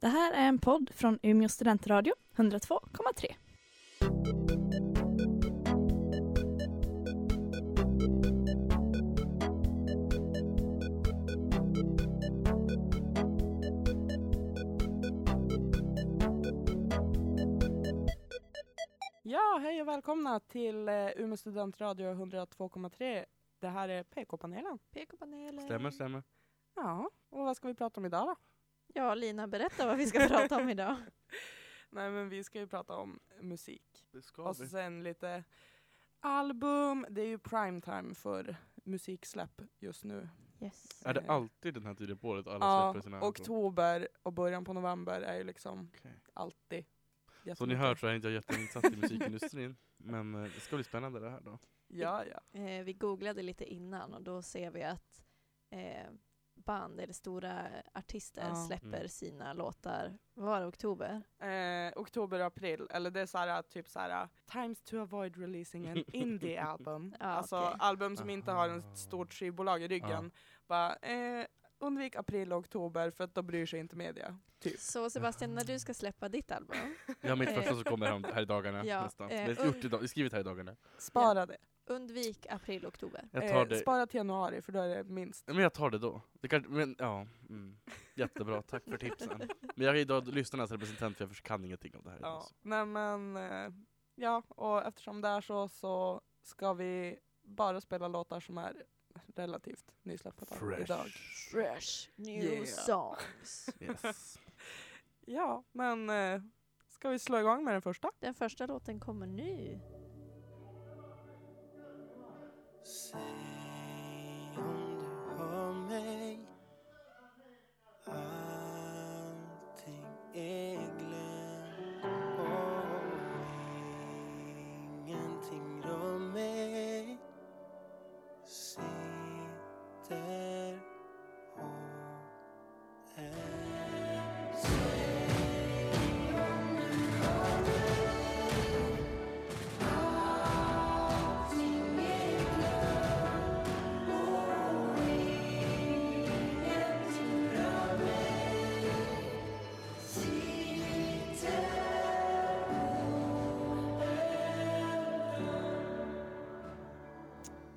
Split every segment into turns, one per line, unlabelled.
Det här är en podd från Umeå studentradio, 102,3.
Ja, hej och välkomna till eh, Umeå studentradio 102,3. Det här är PK-panelen.
PK-panelen.
Stämmer, stämmer.
Ja, och vad ska vi prata om idag då?
Ja, Lina, berätta vad vi ska prata om idag.
Nej, men vi ska ju prata om musik.
Det ska
Och sen lite album. Det är ju primetime för musiksläpp just nu.
Yes.
Är det alltid den här tiden på året alla
Ja,
släpper sina album?
oktober och början på november är ju liksom
Okej.
alltid
Som ni
jättemycket.
hör så är jag inte jag jätteinsatt i musikindustrin. Men eh, det ska bli spännande det här då.
Ja, ja.
Eh, vi googlade lite innan och då ser vi att eh, band eller stora artister
Ja.
släpper
Mm.
sina låtar, vad var det, oktober?
Eh, oktober och april, eller det är så här, typ så här Times to avoid releasing an indie album.
Ja,
alltså
okej.
album som inte har en
Aha.
stort skivbolag i ryggen. Bara, eh, undvik april och oktober för att då bryr sig inte media. Typ.
Så Sebastian, när du ska släppa ditt album,
Jag har
Eh,
mitt första som kommer här, om- här i dagarna
Ja,
nästan.
eh,
Det är gjort idag, det är skrivet här i dagarna.
Spara det.
undvik april, oktober.
Jag tar
Eh,
det,
Spara till januari för då är det minst.
men jag tar det då. Det kan, men, ja, mm. Jättebra, tack för tipsen. Men jag är idag lyssnarnas representant för jag kan ingenting om det här. idag,
Ja.
så.
Nej men, eh, ja och eftersom det är så så ska vi bara spela låtar som är relativt nysläppta idag.
Fresh new
Yeah.
songs.
Yes.
Ja, men eh, ska vi slå igång med den första?
Den första låten kommer nu.
Säg om du har mig Allting är glömt och ingenting rör mig Sitter på en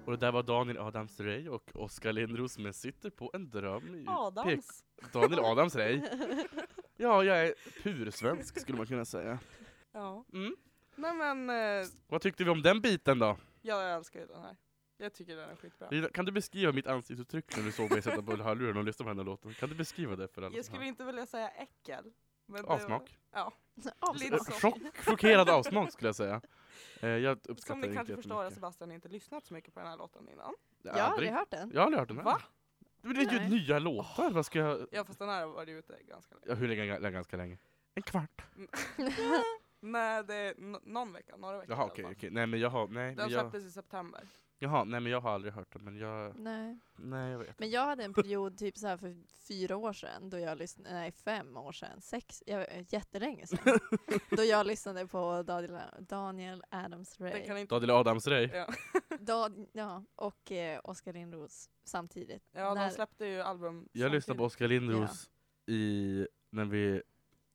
Och det där var Daniel Adams Rey och Oskar Lindros med Sitter på en dröm. i PK
Adams.
Daniel Adams Rey. Ja, jag är pursvensk skulle man kunna säga.
Ja.
Mm.
Nej men, eh,
Vad tyckte vi om den biten då?
jag älskar ju den här. Jag tycker den är skitbra.
Lina, Kan du beskriva mitt ansiktsuttryck när du såg mig sätta på hörlurarna och lyssna på den här låten? Kan du beskriva det för alla
Jag
som hör?
skulle inte vilja säga äckel. Men det-
Avsmak?
Lite
Eh,
så.
Chock, chockerad avsmak skulle jag säga. Eh, Jag uppskattar
Som ni
inte
kanske förstår alltså. har
jättemycket.
Sebastian inte lyssnat så mycket på den här låten innan.
Jag har aldrig hört den.
Jag har aldrig hört den här.
Va?
Men det är ju
Nej.
nya låtar, vad ska jag...
Ja fast den här har varit ute ganska länge.
Ja, hur länge? den Ganska länge. En kvart?
Nej det är n- någon vecka, några veckor
Jaha
i alla
okej,
fall.
okej. Nej men jag har... Nej, men
Den
jag,
släpptes i september.
jaha, nej men jag har aldrig hört den, men jag...
Nej.
Nej jag vet.
Men jag hade en period typ så här för fyra år sedan, då jag lyssnade, nej fem år sedan, sex, jag, eh, jättelänge sedan, då jag lyssnade på Daniel, Daniel Adams
Den
Ray,
kan inte...
Daniel Adams Rey?
Ja,
Dan, ja, och eh, Oskar Lindros samtidigt.
ja
När-
de släppte ju album
Jag lyssnade på Oskar Lindros i, när vi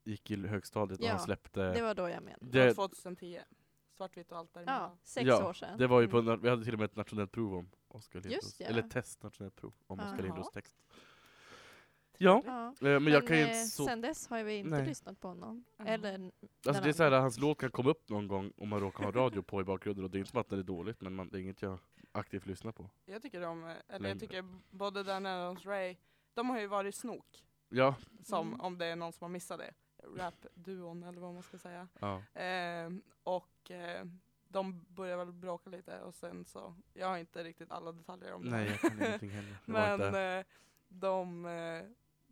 gick i högstadiet och
Ja,
han släppte...
det var då jag menade.
samtidigt.
det-
2010. Svartvitt och allt
Ja,
däremellan.
sex
Ja,
år sedan.
Det var ju på,
Mm.
na- vi hade till och med ett nationellt prov om Oskar
Just
Lindros.
ja.
Eller test nationellt prov om
Jaha.
Oskar Lindros text. Ja, eh,
Ja.
men,
Men
jag kan ju
eh,
inte så...
sen dess har vi inte
Nej.
lyssnat på honom.
Ja.
Eller,
Alltså det är
den
så här, hans låt kan komma upp någon gång om man råkar ha radio på i bakgrunden och det är inte som att det är dåligt men man, det är inget jag aktivt lyssnar på.
Jag tycker om, eh, eller
Längre.
jag tycker både Dan Adams Ray, de har ju varit snok.
Ja,
Som
Mm.
om det är någon som har missat det. Rap-duon eller vad man ska säga.
ja.
Ehm, och eh, de börjar väl bråka lite och sen så, jag har inte riktigt alla detaljer om det.
nej jag kan ingenting heller. Jag var
Men
inte-
eh, de eh,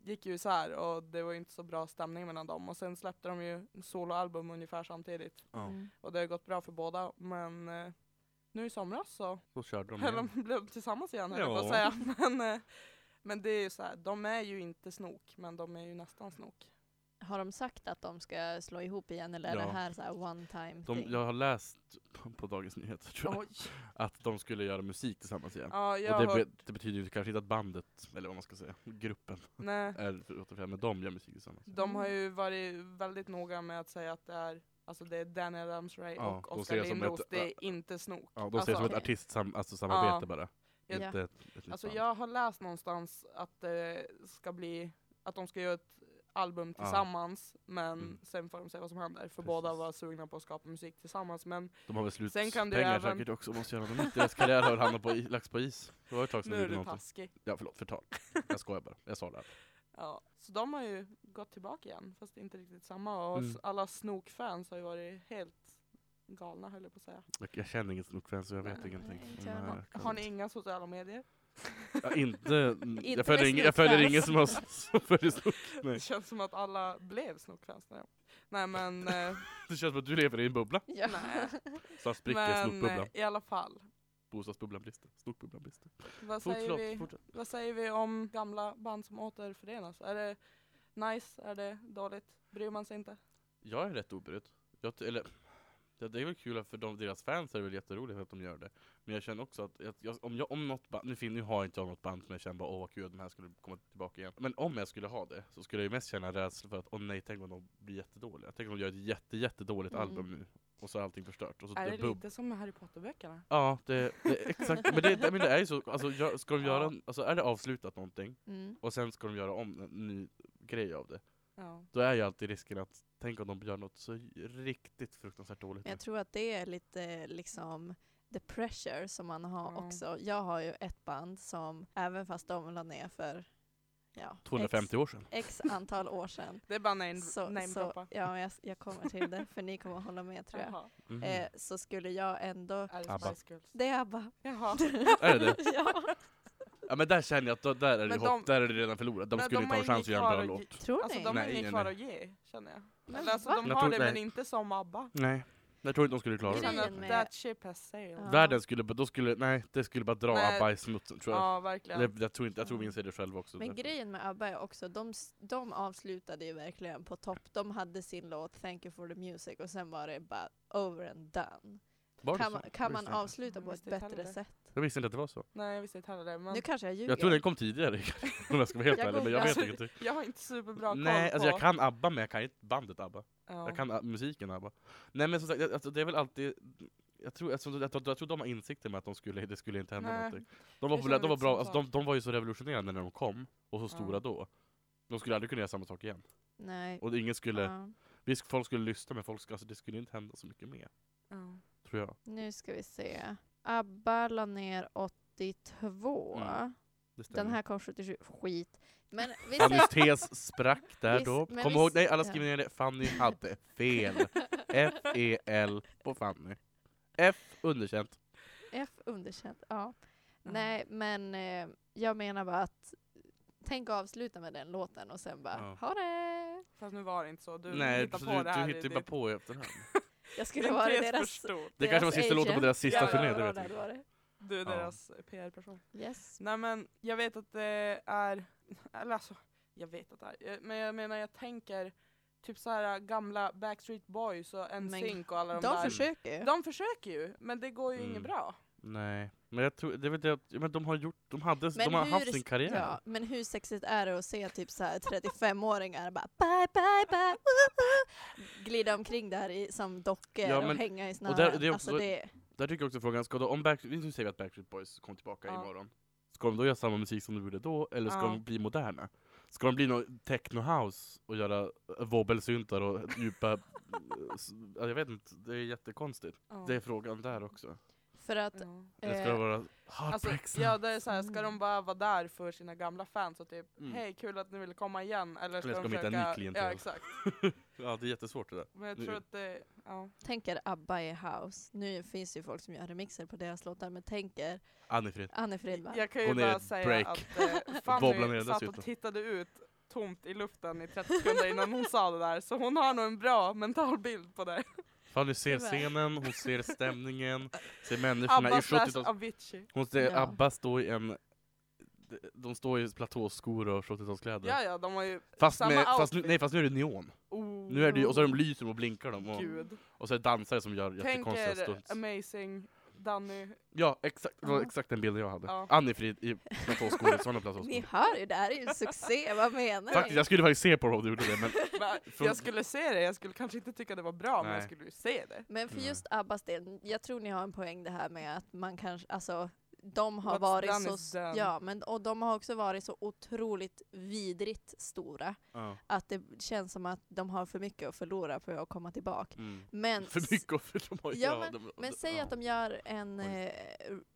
gick ju isär och det var inte så bra stämning mellan dem. Och sen släppte de ju soloalbum ungefär samtidigt.
ja.
Mm.
Och det har gått bra för båda. Men eh, nu i somras så
Så körde de
höll de
igen.
blev tillsammans igen höll jag på att
Ja.
säga. Men, eh, men det är ju så här, de är ju inte snok men de är ju nästan snok.
Har de sagt att de ska slå ihop igen eller är
Ja.
det här så här one time
De,
thing?
jag har läst på, på Dagens Nyheter tror jag,
Oj.
att de skulle göra musik tillsammans igen.
Ja, jag
och det,
har hört,
be, det betyder ju kanske inte att bandet, eller vad man ska säga, gruppen,
nej,
är återförenade, men de gör musik tillsammans.
de har ju varit väldigt noga med att säga att det är, alltså det är Daniel Ramsray
Ja,
och
de
Oskar
ser det som
Lindros,
ett- äh,
det är inte snok.
Ja, de ser det som ett
Alltså-
artistsamarbete alltså, samarbete
Ja.
bara.
Ja.
Inte ett, ett nytt
Alltså
band.
jag har läst någonstans att det ska bli, att de ska göra ett album
Ja.
tillsammans, men
Mm.
sen får de se vad som händer. För
Precis.
båda var sugna på att skapa musik tillsammans, men
De har väl
Sen kan du
slutpengar
även-
säkert också, måste göra något nytt. Deras karriär har hamnat på, i- lagts på is. Det var ett tag sedan
nu
de
är
gjorde
du
någonting.
taskig.
Ja förlåt, förtal. Jag skojar bara. Jag sa det. här.
Ja. Så de har ju gått tillbaka igen, fast inte riktigt samma. Och
Mm.
s- alla Snook-fans har ju varit helt galna höll jag på att säga.
Jag, jag känner inget snookfan så jag vet
Nej,
ingenting.
nej,
om
inte jag
det här.
heller.
Kan
Har ni
inte.
inga sociala medier?
Ja, inte,
Inte
jag följer
med
ingen, jag följer
snookfans.
ingen som har som följer snook. Nej.
Det känns som att alla blev Snook-fans när jag... Nej men, eh,
Det känns som att du lever i en bubbla.
Ja.
nej.
Så spricker
men eh,
snookbubblan.
i alla fall.
Bostadsbubblan brister. Snookbubblan brister.
Vad
Fort,
säger
förlåt,
vi?
fortsätt.
Vad säger vi om gamla band som återförenas? Är det nice? Är det dåligt? Bryr man sig inte?
Jag är rätt obrydd. Jag, ty- eller, ja, det är väl kul att för de, deras fans är det väl jätteroligt att de gör det. Men jag känner också att jag, jag, om, jag, om något band, nu, fin, nu har inte jag något band som jag känner bara åh vad kul, de här skulle komma tillbaka igen. Men om jag skulle ha det så skulle jag ju mest känna rädsla för att åh nej, tänk om de blir jättedåliga. Tänk om de gör ett jätte, jättedåligt
Mm.
album nu och så är allting förstört. Och så
är det
bubb-
lite som med Harry Potter-böckerna?
Ja, det, det, exakt. Men det, det, men det är ju så. Alltså, gör- ska de göra,
Ja.
en- alltså, är det avslutat någonting
Mm.
och sen ska de göra om en ny grej av det
Ja.
då är ju alltid risken att tänk om de gör något så riktigt fruktansvärt dåligt.
Men jag tror att det är lite liksom the pressure som man har
Ja.
också. Jag har ju ett band som, även fast de la ner för ja, ex,
250 år sedan.
x antal år sedan.
Det är bara name,
Så, så,
namedroppa.
ja, men jag, jag kommer till det, för ni kommer hålla med tror jag.
Jaha.
Mhm.
Eh, så skulle jag ändå...
Är det
Abba.
Spice Girls?
Det är ABBA.
Jaha.
Är det det?
ja.
Ja men där känner jag att då, där, är det
Men
hopp,
de-
där är det redan förlorat. De
Men
skulle
de
inte
har
ha en chans att
inget
göra en bra
kvar att
låt.
Tror
Alltså
ni?
de har
Nej,
inget
nej,
kvar
nej.
att ge, känner jag.
Men
Eller alltså
va?
de
Jag
har
tror-
det men
nej.
inte som ABBA.
Nej. Jag tror inte de skulle klara
Jag
Grejen
känner
det.
att
med-
that ship has sailed.
Ja.
Världen skulle, bara- då skulle, nej, det skulle bara dra
Nej.
ABBA i smutsen tror jag.
Ja, verkligen.
Det, jag, tror inte, jag tror vi inser det själva också.
Men
därför.
grejen med ABBA är också, de, s- de avslutade ju verkligen på topp. De hade sin låt Thank you for the music och sen var det bara over and done.
Var det
Kan
så?
man, kan
Jag
man
visste inte.
avsluta på
Jag
ett
visste inte
bättre
heller.
sätt?
Jag visste inte att det var så.
Nej, jag visste inte heller det. Men
Nu kanske jag ljuger.
Jag tror den kom tidigare om jag ska vara helt
Jag
ärlig, men jag vet
googlar.
ingenting.
Alltså, jag har inte superbra koll
Nej,
på...
alltså jag kan ABBA men jag kan inte bandet ABBA.
Ja.
Jag kan a- musiken ABBA. Nej men som sagt, jag- alltså, det är väl alltid jag tror, alltså, jag, jag, jag tror de har insikter med att de skulle, det skulle inte hända
Nej,
någonting. De var,
det
populära,
känns
de, var
lite som
bra, alltså, de, de var ju så revolutionerande när de kom, och så
Ja.
stora då. De skulle aldrig kunna göra samma sak igen.
Nej.
Och ingen skulle,
Ja.
visst folk skulle lyssna men folk, ska- alltså, det skulle inte hända så mycket mer.
Ja.
Tror jag.
Nu ska vi se. ABBA la ner 82.
Mm, Det stämmer.
Den här kom 77. Skit. Men vi
Fannys
säger...
tes sprack där
Vi-
då.
men
Kom
vi-
ihåg, nej alla
ja.
skriver ner det, Fanny hade fel. E F-E-L på Fanny. F underkänt.
F underkänt. Ja.
Ja.
Nej, men eh, jag menar bara att tänk att avsluta med den låten och sen bara
Ja.
ha det.
Fast nu var det inte så. Du
nej,
hittar
så
på
du,
det här.
du
i
hittar ju bara
ditt-
på i efterhand.
Jag skulle
Din
vara
tes
deras...
förstår.
Det kanske var
deras
sista låten på
agent.
deras sista
Ja,
turné,
ja,
det vet jag.
där
inte.
var det.
Du är
Ja.
deras PR-person.
Yes.
Nej men jag vet att det är, eller alltså, jag vet att det är, men jag menar jag tänker typ så här gamla Backstreet Boys och NSYNC och alla de,
De
där.
försöker ju.
de försöker ju, men det går ju inget
Mm.
bra.
Nej, men jag tror, det vet jag, att- men de har gjort, de hade,
Men
de har haft
hur-
sin karriär.
Ja, men hur sexigt är det att se typ så här 35-åringar bara bye, bye, bye, woo, woo, glida omkring där i, som dockor
Ja,
och
men-
hänga i
där-
snören?
det är
alltså
också-
det,
Där tycker jag också frågan, ska då, om Back, nu säger vi att Backstreet Boys kom tillbaka
Ja.
imorgon. Ska de då göra samma musik som de gjorde då, eller ska
Ja.
de bli moderna? Ska de bli någon techno house och göra eh, wobbelsyntar och djupa... eh, s- ja, jag vet inte, det är jättekonstigt.
Ja.
Det är frågan där också.
för att...
Ja.
Eller ska
eh,
det vara
Alltså,
heartbreak sound?
ja, det är så här, ska de
Mm.
bara vara där för sina gamla fans och typ
Mm.
hej kul att ni ville komma igen eller ska,
Eller ska
de
de hitta en ny
försöka,
klientel?
ja exakt.
ja, det är jättesvårt det där.
Men jag
Nu-
tror att det, ja.
Tänker ABBA i house. Nu finns det ju folk som gör remixer på deras låtar, men tänker
Anne-Frid.
Anne Fridman.
Jag kan ju
Och ner i
bara
ett
säga
break.
att eh,
Bobbla ner
Fanny
den
satt
dessutom.
och tittade ut tomt i luften i 30 sekunder innan hon sa det där, så hon har nog en bra mental bild på det.
Fanny ser
Tyvärr.
scenen, hon ser stämningen, ser människorna i
Abba slash
70-tals...
Avicii.
Hon ser
Ja.
Abba stå i en de står i platåskor och 70-talskläder.
Ja, ja, de har ju
Fast,
samma
med, fast, nu,
outfit.
nej, fast nu är det neon.
Oh,
Nu är det, ju- och så är de lyser och blinkar de. Och,
Gud.
och så är det dansare som gör jättekonstiga
Tänker
stunts.
amazing Danny.
Ja, exakt, det var
Ja.
exakt den bilden jag hade.
Ja.
Annifrid i platåskor, sådana
Ni
platåskor.
hör ju, det här är ju en succé, vad menar
Faktiskt, jag skulle faktiskt se på om du gjorde det, men
Men
Från-
Jag skulle se det, jag skulle kanske inte tycka det var bra, men
Nej.
jag skulle ju se det.
Men för
Nej.
just Abbas del, jag tror ni har en poäng det här med att man kanske, alltså de har
What's done
varit
is
så,
done.
ja men och de har också varit så otroligt vidrigt stora
ja.
att det känns som att de har för mycket att förlora för att komma tillbaka.
mm.
Men,
För mycket och för de har
Ja,
de,
men säg att de gör en, eh,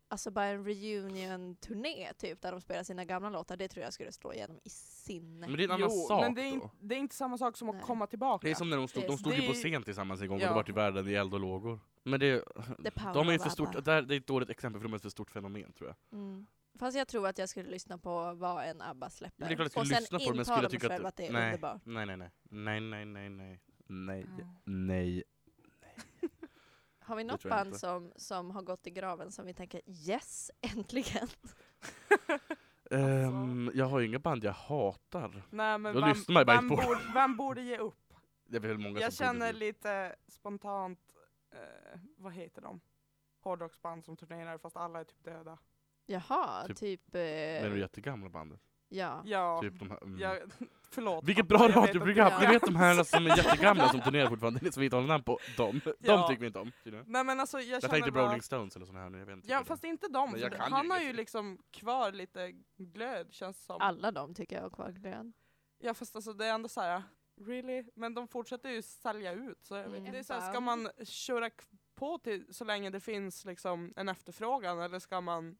alltså bara en reunion-turné typ där de spelar sina gamla låtar, det tror jag skulle slå igenom i sinne.
Men det är en annan sak
men det är,
då.
inte, det är inte samma sak som att
Nej.
komma tillbaka.
Det är som när de stod, de
Precis.
stod ju
Det
på
är ju-
scen tillsammans en gång och
Ja.
det vart i världen i eld och lågor. Men det,
The power
de är ju
of
för stort,
ABBA.
där, det är ett dåligt exempel för de är ett för stort fenomen tror jag.
Mm. Fast jag tror att jag skulle lyssna på vad en ABBA släpper.
Men det är klart jag skulle
och sen
lyssna på det, men
intala
skulle
mig
tycka att-
själv att, det är
nej.
underbart.
Nej, nej, nej. Nej, nej, nej, nej. Nej,
Ja.
nej.
Har vi
Det
något
tror jag
band
inte.
som, som har gått i graven som vi tänker yes, äntligen?
Typ.
Alltså-
Ehm, jag har ju inga band jag hatar.
Nej, men
Då
vem,
lyssnar man ju bara
vem,
inte på
borde, vem borde ge upp?
Det är väl många
Jag
som borde
känner
bli-
lite spontant, eh, vad heter de? Hårdrocksband som turnerar fast alla är typ döda.
Jaha,
Typ-
typ...
Men de
eh,
jättegamla bandet.
ja.
Ja,
Typ de här, mm.
jag, förlåt.
Vilket
pappa, jag
bra
vet att du-
radioprogram! Ni
Ja.
vet de här som är jättegamla som turnerar fortfarande, som vi inte har något namn på. De, de
Ja.
tycker vi inte om. tydligen.
Nej men alltså jag,
Jag
känner
tänkte på
bara...
Rolling Stones eller såna här nu, jag vet inte.
Ja
vilka
fast inte dem,
Men
för
jag
det-
kan ju
han har
inget.
ju liksom kvar lite glöd känns som.
Alla de tycker jag har kvar glöden.
Ja fast alltså det är ändå så här. really? Men de fortsätter ju sälja ut. Så jag vet.
Mm.
Det är så här, ska man köra k- på till så länge det finns liksom en efterfrågan eller ska man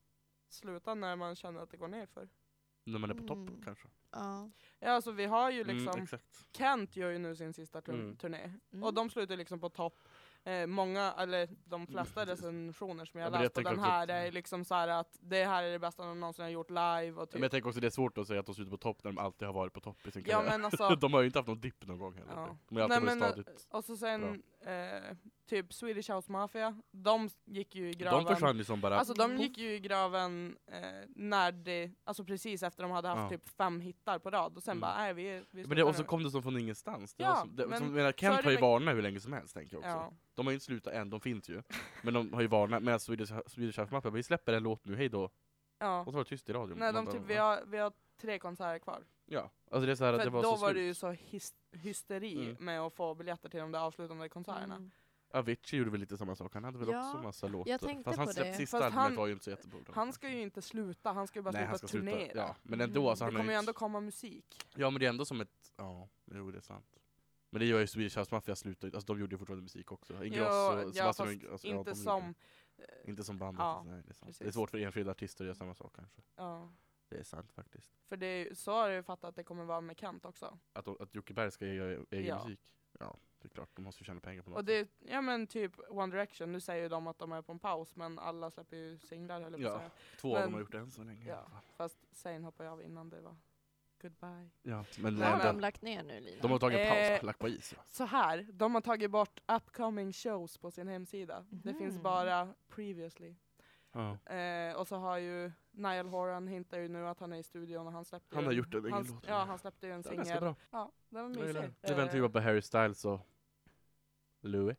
sluta när man känner att det går ner för?
det är. När man är på topp
Mm.
kanske.
Ja.
Ja alltså vi har ju liksom,
Mm, exakt.
Kent gör ju nu sin sista tur-
Mm.
turné
Mm.
och de slutar liksom på topp. Eh, många, eller de flesta
Mm.
recensioner som jag
Ja, men jag
läst på
tänker
den
också
här
att-
är liksom så här att det här är det bästa de någonsin har gjort live och
Men jag
typ.
tänker också det är svårt att säga att de slutar på topp när de alltid har varit på topp i sin
Ja
karriär.
men alltså,
De har ju inte haft någon dipp någon gång heller.
Ja.
De har ju
Nej,
alltid varit
men, eh,
stadigt.
Och så sen eh, typ Swedish House Mafia, de gick ju i graven.
De försvann ju som bara...
Alltså de gick ju i graven eh, när det, alltså precis efter de hade haft
Ja.
typ fem hittar på rad och sen
Mm.
bara nej vi, vi
men det, och
slutar
så
nu."
kom det som från ingenstans. Det
Ja,
var som, det,
men
som, jag menar,
så är
Kent
det
har ju
med-
varnat hur länge som helst tänker jag också.
ja.
De har ju inte slutat än, de finns ju. Men de har ju varnat, medan Swedish, Swedish House Mafia, vi släpper en låt nu, hej då.
ja.
Och så var det tyst i radion.
Nej de
Man bara,
typ,
va?
vi har, vi har tre konserter kvar.
Ja, alltså det är så här, att
För
det var
då
så
var det
slut.
ju så hys- hysteri
Mm.
med att få biljetter till de där avslutande konserterna.
Mm.
Avicii gjorde väl lite samma sak, han hade väl
Ja,
också massa låtar.
jag tänkte
Fast han
på
släppte
det.
sista
Fast
albumet
han-
var ju inte så jättebra.
Han ska ju inte sluta, han ska ju bara
Nej, han
sluta
ska
turnera.
sluta. Ja, men ändå. Alltså,
Det
han har
kommer ju
ju
ändå
inte-
komma musik.
Ja men det är ändå som ett, ja, jo det är sant. Men det gör ju Swedish House Mafia slutar ju- alltså de gjorde ju fortfarande musik också.
Jo,
Ingrosso,
ja,
Sebastian
fast
och Ingrosso, alltså, ja, de
inte
gjorde
som... eh,
Inte som bandet. alltså,
Ja,
nej, det, är sant. det är
precis.
svårt för enskilda artister att göra samma sak kanske.
Ja.
Det är sant faktiskt.
För det är, ju- så har jag ju fattat att det kommer vara med Kent också.
Att, att Jocke Berg ska göra egen
Ja.
musik? Ja, det är klart. De måste ju tjäna pengar på något
Och det, ja men typ One Direction, nu säger ju de att de är på en paus men alla släpper ju singlar höll jag på att
Ja.
säga.
sätt. Två av dem
men-
har gjort det än så länge. i
Ja.
alla fall.
Fast Zayn hoppar jag av innan det var goodbye.
ja men
Vad har
nej,
de
den,
lagt ner nu Lina?
de har tagit en paus,
Eh,
lagt på is. Ja.
Så här, de har tagit bort upcoming shows på sin hemsida. Det finns
Mhm.
bara previously.
Ja.
Eh, och så har ju Niall Horan hintar ju nu att han är i studion och han släppte
Han
ju
har
en-
gjort en egen
han,
låt.
Mm. Ja, han släppte ju en
Det var ganska
singel.
bra.
Ja, den var
Jag gillar
mysig.
det. Det väntar vi bara
Eh,
på Harry Styles och Louis.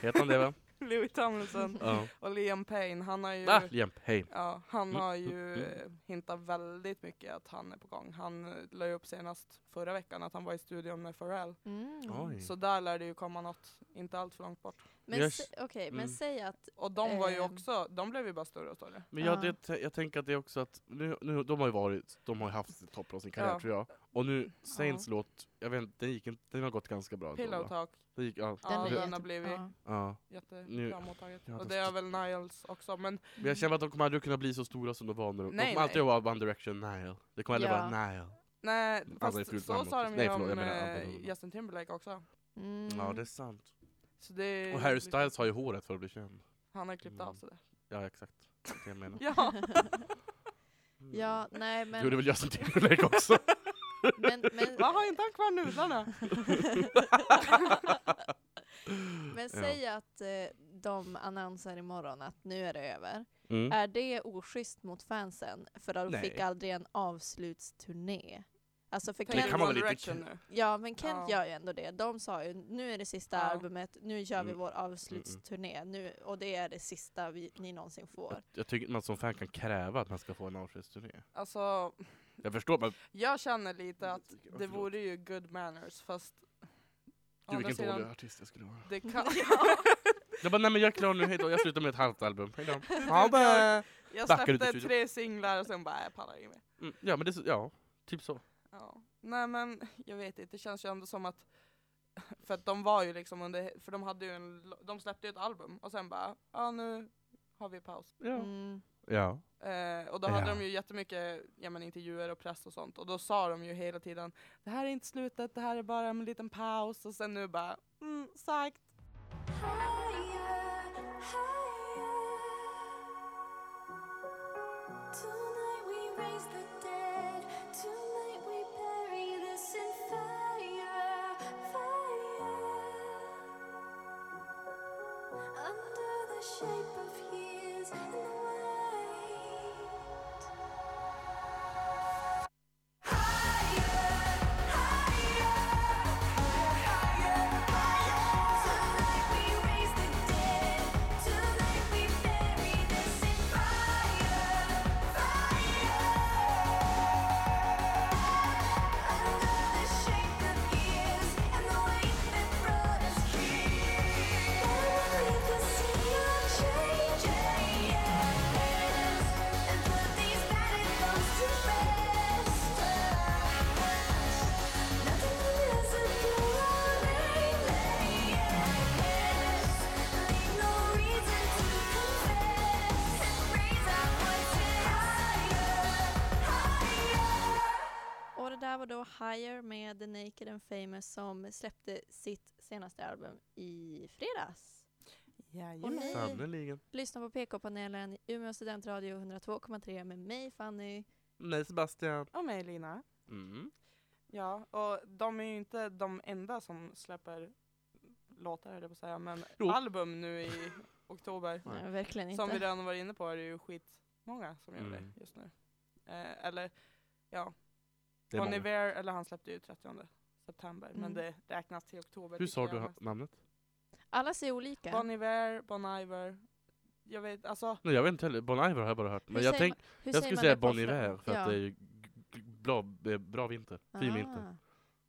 Heter han det va?
Eh, Louis Tomlinson
Ja.
och Liam Payne, han har ju...
Ah, Jämp, hej.
Ja, han
Mm,
har
mm,
ju
mm.
eh, hintat väldigt mycket att han är på gång. Han eh, la ju upp senast förra veckan att han var i studion med Pharrell.
Mm.
Oj.
Så där lär det ju komma något, inte allt för långt bort.
Men,
Yes.
sä- okej, men
Mm.
säg att...
Och de var ju
Ehm.
också, de blev ju bara större och större.
Men jag,
Ja.
det, tä- jag tänker att det är också att, nu, nu, de har ju varit, de har ju haft sitt topp av sin karriär
Ja.
tror jag. Och nu, Saints låt, jag vet inte, den, gick inte, den har gått ganska bra. ändå,
Pillow
va?
Talk,
Den gick, ja.
ja,
är
den
jätte-
har blivit
ja.
ja. Nu-
jättebra mottaget.
Ja,
Och
den
det är väl Niles också, men
Men jag känner att de kommer aldrig kunna bli så stora som de var nu. De
Nej,
kommer alltid
nej.
vara One Direction Nile. Det kommer aldrig
Ja.
vara Nile.
nej,
Alltså, det är
fast
fult
så
namn
sa de
också.
ju
Nej,
om
förlåt, jag menar
eh,
Anton Lundgren.
Justin Timberlake också.
Mm.
Ja, det är sant.
Så det är-
Och Harry Styles har ju håret för att bli känd.
Han har klippt
Mm.
av sig det.
Ja, exakt. Det är det jag menar.
Ja,
Mm.
ja, nej
Det
men...
gjorde väl Justin Timberlake också?
men, men
vad har inte han kvar nudlarna?
Men säg att eh, de annonser imorgon att nu är det över.
Mm.
Är det oschysst mot fansen? För att de
Nej.
fick aldrig en avslutsturné. Alltså för
Tänker
kan
Kent,
man
One
väl inte-
Direction nu.
ja, men Kent
typ. Ja.
gör ju ändå det. De sa ju nu är det sista
Ja.
albumet, nu gör vi
Mm.
vår avslutsturné nu, och det är det sista vi, ni någonsin
Jag,
får.
jag tycker inte man som fan kan kräva att man ska få en avskedsturné.
Alltså,
Jag förstår att man...
jag känner lite att
Ja,
det
Mm, förlåt.
vore ju good manners fast å
Gud
andra
vilken dålig
sidan,
artist jag skulle vara.
det kan...
Jag bara, nej men jag är klar nu, hejdå. Jag slutar med ett halvt album. Hejdå. Ja,
det-
men-
Jag
Backar ut i
släppte
studion.
tre singlar och sen bara, jag pallar inget mer.
Mm, ja men det är så, ja. Typ så.
Ja. Nej men jag vet inte, det känns ju ändå som att för att de var ju liksom under, för de hade ju en, de släppte ju ett album och sen bara, ja nu har vi paus.
Ja.
Mm.
ja.
Eh, och då hade
Ja.
de ju jättemycket ja, men intervjuer och press och sånt och då sa de ju hela tiden, det här är inte slutet, det här är bara en liten paus och sen nu bara, mm, sagt.
Shape of years and the weight.
Och det där var då Higher med The Naked and Famous som släppte sitt senaste album i fredags. Och ni
Sannerligen.
lyssnar på PK-panelen i Umeå studentradio 102,3 med mig Fanny.
Nej Sebastian.
Och mig Lina.
Mm.
Ja, och de är ju inte de enda som släpper låtar höll jag på att säga, men
Jo.
album nu i oktober.
Nej.
Nej, verkligen
Som vi
inte.
redan varit inne på är det ju skitmånga som gör
Mm.
det just nu. Eh, eller ja,
Det är
Bon
många.
Iver, eller han släppte ju 30 september, men
Mm.
det räknas till oktober.
Hur
tycker
sa
jag
du
mest.
ha- namnet?
Alla ser olika.
Bon Iver, Bon Iver, jag vet alltså,
Nej jag vet inte heller, Bon Iver har jag bara hört. Men
Hur
jag,
säger
tänk,
man- hur säger
jag skulle
man
säga
det på
Bon
fran-
Iver för
Ja.
att det är ju g- g- bra, eh, bra vinter. Fin vinter.
Ah.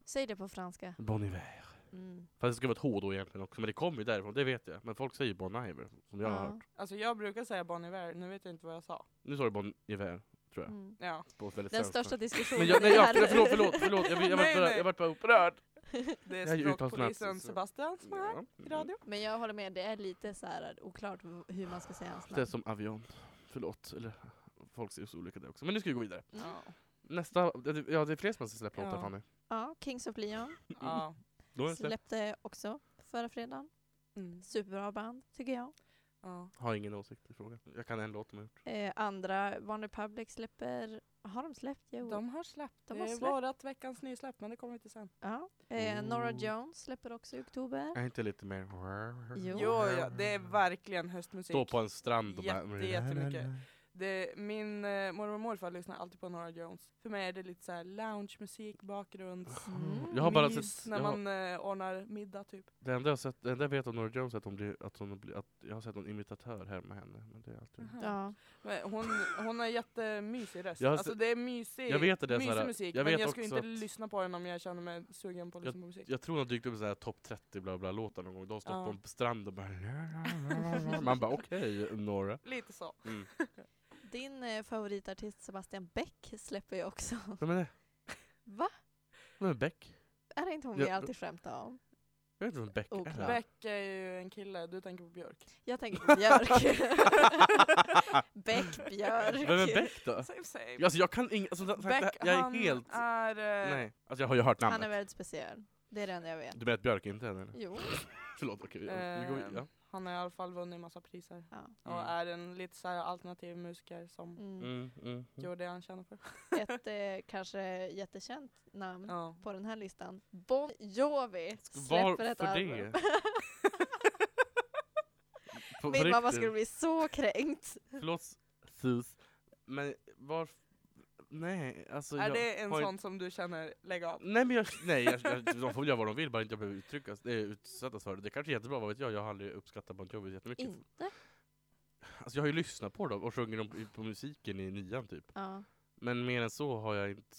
Säg det på franska.
Bon Iver.
Mm.
Fast det ska vara ett H då egentligen också, men det kommer ju därifrån, det vet jag. Men folk säger Bon Iver, som jag har
Ja.
hört.
alltså jag brukar säga Bon Iver, nu vet jag inte vad jag sa.
Nu sa du Bon Iver, tror jag.
Mm.
Ja,
På ett väldigt
Den
svenskt
största
sätt.
diskussionen
men jag, nej,
i
jag,
det här-
förlåt, förlåt, förlåt, jag, jag,
Nej,
vart bara,
nej.
jag vart bara upprörd.
det är
Jag är ju
språkpolisen
utlandsnatt, så-
Sebastian som är här i radio.
Men jag håller med, det är lite så här oklart v- hur man ska säga hans
Det är
namn.
som avion. Förlåt, eller folk ser ju så olika där också. Men nu ska vi gå vidare.
Mm.
Ja.
Nästa, ja det är fler som har släppt låtar
Ja.
Fanny.
Ja, Kings of Leon
Mm.
ja.
Då är det släppt.
släppte också förra fredagen.
Mm.
Superbra band, tycker jag.
ja.
Har ingen åsikt i frågan. Jag kan en låt de har gjort.
Eh, andra, One Republic släpper... Har de släppt? Jo.
De har släppt.
De
det
har
är
släppt.
vårat veckans nysläpp, men det kommer inte sen.
Ja. Eh, Norah
Oh.
Jones släpper också i oktober.
Är inte lite mer...
Jo.
Jo, ja, det är verkligen höstmusik.
Stå på en strand och bara...
Jätte- jättemycket. Det, min eh, mormor och morfar lyssnar alltid på Norah Jones. För mig är det lite så här loungemusik, bakgrunds...
Mm.
Jag har bara
mys
sett...
när
Jag har,
man eh, ordnar middag typ.
det enda jag sett, det enda jag vet om Norah Jones är att hon blir... Att hon blir att jag har sett någon imitatör här med henne. Men det är alltid...
Aha.
Ja.
Men Mm. Eh, hon, hon har jättemysig röst.
Jag har
Alltså
se-
det är mysig,
Jag vet att det är så
mysig
här-
musik,
jag
men
vet
jag skulle
också
inte
att-
lyssna på den om jag känner mig sugen på att lyssna på musik.
Jag tror hon har dykt upp i sån här topp 30 bla bla låtar någon gång. Då har hon stått
Ja.
på en strand och bara... Man bara okej Norah.
Lite så.
Mm.
Din eh, favoritartist Sebastian Beck släpper ju också.
Vem är det?
Va?
Vem är Beck?
Är det inte hon
Ja,
vi
då-
alltid skämtar om?
Jag vet inte vem Beck
Oklart.
är.
Beck är ju en kille, du tänker på Björk.
Jag tänker på Björk. Beck, Björk.
Vem är Beck då?
Same same.
Alltså jag kan inget, alltså, som sagt,
Beck,
jag är
han
helt...
är... eh,
Nej, alltså jag har ju hört namnet.
Han är väldigt speciell. Det är det enda jag vet.
Du menar att Björk inte är det? eller?
Jo.
Förlåt, okej. vi- vi går
Ehm,
vidare.
Han har i alla fall vunnit massa priser.
Ja.
Och
Mm.
är en lite så här alternativ musiker som
Mm.
Mm, mm, mm.
gör det han känner för.
Ett eh, kanske jättekänt namn
Ja.
på den här listan. Bon Jovi släpper ett
Varför
album.
det? På- på
Min mamma
riktigt.
skulle bli så kränkt.
Förlåt Sus, men varför? Nej, alltså
Är
jag...
det en
har ju-
sån som du känner, lägg av?
Nej men jag, nej, jag, jag, de får göra vad de vill, bara inte jag behöver uttryckas, eh, utsättas för det. Det kanske är jättebra, vad vet jag? Jag har aldrig uppskattat Bon Jovi jättemycket.
Inte?
Alltså jag har ju lyssnat på dem och sjungit dem på- på musiken i nian typ.
Ja.
Men mer än så har jag inte...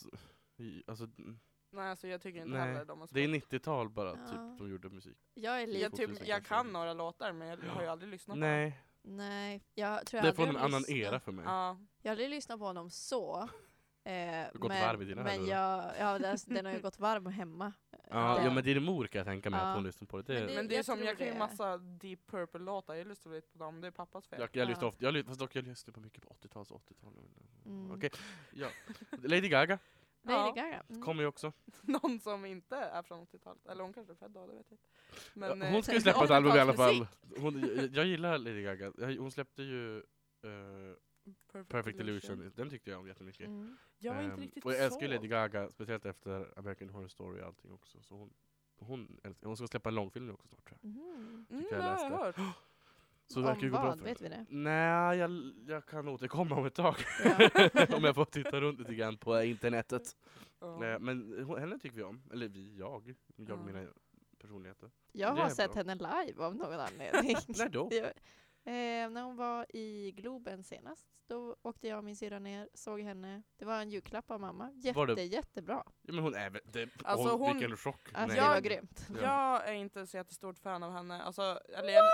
i- Alltså, mm,
Nej alltså jag tycker inte
Nej,
heller de har
det är
sparat.
90-tal bara
Ja.
typ, de gjorde musik.
Jag är lite...
jag,
2000
typ, jag
kanske.
kan några låtar men jag har ju aldrig lyssnat på
Nej,
Nej, jag tror
det är
aldrig
från en
jag
annan
lyssnat-
era för mig.
dem. Ja.
Jag har aldrig lyssnat på honom så. Eh,
gått varv i dina
men
hörlurar.
jag, ja, den, den har ju gått varm hemma.
Ja,
Den-
ja men det är din mor kan jag tänka mig
Ja.
att hon lyssnar på det. det,
Men det-
Men det är
jag
som,
tror
jag kan ju
det.
massa Deep Purple-låtar, jag lyssnar lite på dem, det är pappas fel.
Jag, jag
Ja.
lyssnar ofta, jag, ly- fast dock jag lyssnar på mycket på 80-tals 80-tal.
Mm.
Okej, ja. Lady Gaga
Lady
Ja.
Gaga. Mm.
kommer ju också.
Någon som inte är från 80-talet, eller hon kanske är född då, det vet jag inte.
ja,
eh,
hon ska ju släppa ett album i alla fall.
80-talsmusik.
Hon, jag, jag gillar Lady Gaga. Jag- Hon släppte ju eh,
Perfect,
Perfect Illusion, den tyckte jag om jättemycket.
Mm.
Jag var inte
Ehm,
riktigt
och jag älskar ju
såld.
Lady Gaga, speciellt efter American Horror Story och allting också. Så hon, hon, älskar, hon ska släppa en långfilm nu också snart tror jag.
Mm.
Mm,
tycker
jag
jag
har
läste.
jag hört.
Så
Om
det verkar ju gå bra
vad?
för
Vet
henne.
vi det?
Nej, jag, jag kan återkomma om ett tag.
Ja.
om jag får titta runt lite grann på internetet.
Ja.
Nej, men hon- henne tycker vi om. Eller vi, jag. Jag
Ja.
och mina personligheter.
Jag
Det är
har sett
bra.
henne live av någon anledning.
När då?
Jag, eh, när hon var i Globen senast, då åkte jag och min syrra ner, såg henne. Det var en julklapp av mamma.
Var det-
Jätte, jättebra.
Ja, men hon är väl... Det,
Alltså,
hon,
hon-
Vilken chock.
Alltså,
Nej.
det var
Jag-
grymt.
Jag är inte så jättestort fan av henne, alltså, eller jag,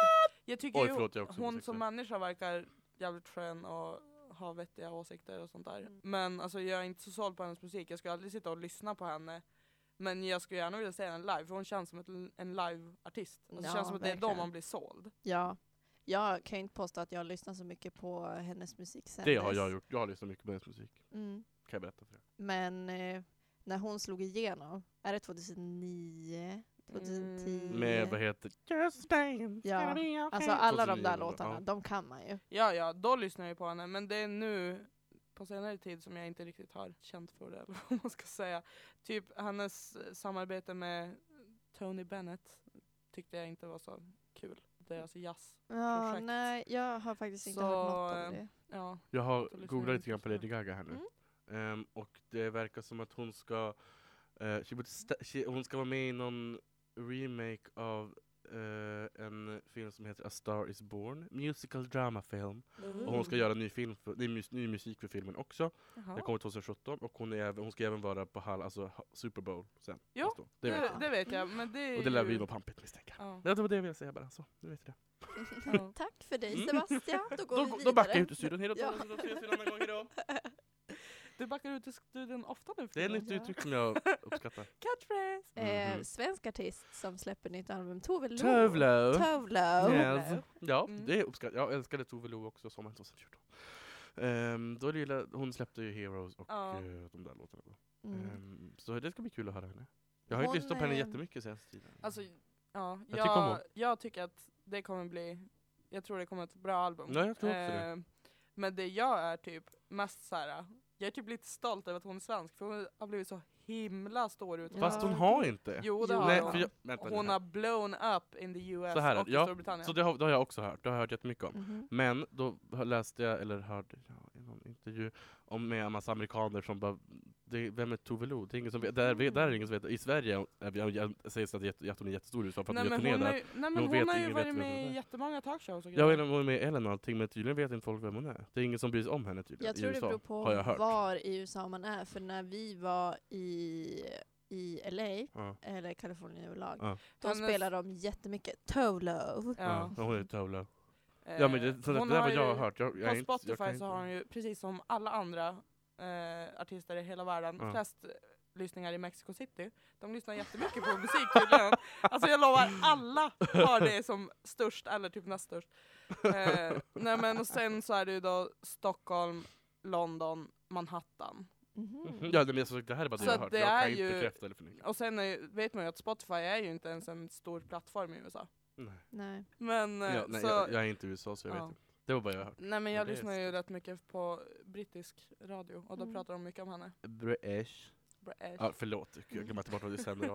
jag tycker
Oj,
ju
förlåt, jag är också
hon
homosexuell.
som människa verkar jävligt skön och har vettiga åsikter och sånt där.
Mm.
Men alltså, jag är inte så såld på hennes musik, jag skulle aldrig sitta och lyssna på henne. Men jag skulle gärna vilja se henne live, för hon känns som ett, en live-artist. Alltså, det
Ja,
känns som att det är då
verkligen.
man blir såld.
Ja. Jag kan ju inte påstå att jag lyssnar så mycket på hennes musik sen
Det har
dess.
jag gjort. Jag har lyssnat mycket på hennes musik.
Mm.
Kan jag berätta för er.
Men eh, när hon slog igenom, är det 2009? 2010?
Mm.
Med, vad heter Just Spain,
Ja.
gonna be okay.
Alltså alla de
2009
där
eller vad?
låtarna,
Ja.
de kan man ju.
Ja, ja, då lyssnar jag ju på henne, men det är nu på senare tid som jag inte riktigt har känt för det, eller vad man ska säga. Typ hennes eh, samarbete med Tony Bennett tyckte jag inte var så kul. Det är alltså jazz.
Ja,
Projekt.
nej, jag har faktiskt inte
Så,
hört något
eh,
om det.
Ja,
Jag
Så lyssnar
har
jag
googlat lite
inte
grann på
just
Lady Gaga här nu.
Mm.
Ehm, och det verkar som att hon ska... eh, she would sta- she, hon ska vara med i någon remake av eh, en film som heter A Star Is Born. Musical drama film. Och hon ska
Mm.
göra en ny, film för, ny, mus- ny musik för filmen också. Den
jaha.
kommer 2017 och hon, är, även- hon ska även vara på hall, alltså, ha- Super Bowl sen.
Ja, eh,
nästa år. det vet
Det,
jag.
det vet jag, men det är
Och det lär
ju-
bli något pampigt misstänker jag.
Ja.
Ja, Det var det jag ville säga bara, så nu vet jag det.
Ja.
Tack för dig
Mm.
Sebastian, då går vi
Då,
vidare.
då backar jag ut ur studion, hejdå!
Ja.
Alltså, Då ses vi en annan gång, hejdå!
Du backar ut i studion ofta nu för
Det är
tiden.
ett nytt uttryck som jag uppskattar.
Catchphrase!
Mhm.
Eh, svensk artist som släpper nytt album, Tove Lo.
Tövlo!
Tövlo.
Yes. Ja,
Mm.
det uppskattar jag. Jag älskade Tove Lo också sommaren 2014. Ehm, då gillade, hon släppte ju Heroes och
Ja.
eh, de där låtarna. då.
Mm.
Ehm, så det ska bli kul att höra henne. Jag har inte
Hon,
lyssnat på henne
eh,
jättemycket senaste tiden.
Alltså, ja,
Jag tycker om
jag,
hon.
jag tycker att det kommer bli, jag tror det kommer ett bra album. Eh,
Ja, jag tror också det.
Men det jag är typ mest så här. jag är typ lite stolt över att hon är svensk, för hon har blivit så himla stor utomlands.
Fast hon har inte.
Jo det
Jo,
har
Nej,
hon.
för jag, vänta, nu
Hon
här.
har blown up in the US
Så här är
och
det, ja.
i Storbritannien.
Så det har, det har jag också hört, det har jag hört jättemycket om.
Mhm.
Men då hör- läste jag, eller hörde jag i någon intervju, om med en massa amerikaner som bara det, Vem är Tove Lo? Det är ingen som vet, där, där är det ingen som vet. I Sverige är vi- jag- sägs det att jätte- att hon är jättestor i USA för att
nej,
hon gör
men
turné
hon, har
där.
ju, nej, men
hon
hon,
vet
har ju
ingen
varit
vet vem
med
hon
i
är.
jättemånga talkshows och
Jag vet
grejer.
inte om hon är med i Ellen och allting, men tydligen vet inte folk vem hon är. Det är ingen som bryr sig om henne tydligen
Jag tror
i
det
USA,
beror på
har jag hört.
var i USA man är, för när vi var i, i LA,
Ja,
eller Kalifornien överlag,
Ja.
då
Hennes-
spelade de jättemycket Tolo.
ja. hon är Tove Lo.
Eh,
Ja men det, så det, det
hon
där var
har
jag har
ju-
hört. Jag, jag är
På
inte- jag
Spotify
kan
så har hon ju, precis som alla andra eh, artister i hela världen,
Ja.
flest eh, lyssningar i Mexico City. De lyssnar jättemycket på musik tydligen. Alltså jag lovar, alla har det som störst, eller typ näst störst. Eh, nej men och sen så är det ju då Stockholm, London, Manhattan.
Mhm.
Mhm. Ja, nej, men så, det här är bara det
Så
jag har
att
hört.
det
jag kan
är
inte
ju-
bekräfta eller förneka.
Och sen är, ju- vet man ju att Spotify är ju inte ens en stor plattform i USA.
Nej.
Nej.
Men eh,
Ja, nej,
så...
jag, jag är inte i USA så jag
Ja.
vet inte. Det var bara jag har hört.
Nej men jag
det är
lyssnar ju
sant.
rätt mycket på brittisk radio och då
Mm.
pratar de mycket om henne.
British.
British.
Ja, förlåt, jag glömde inte bort vad du sänder.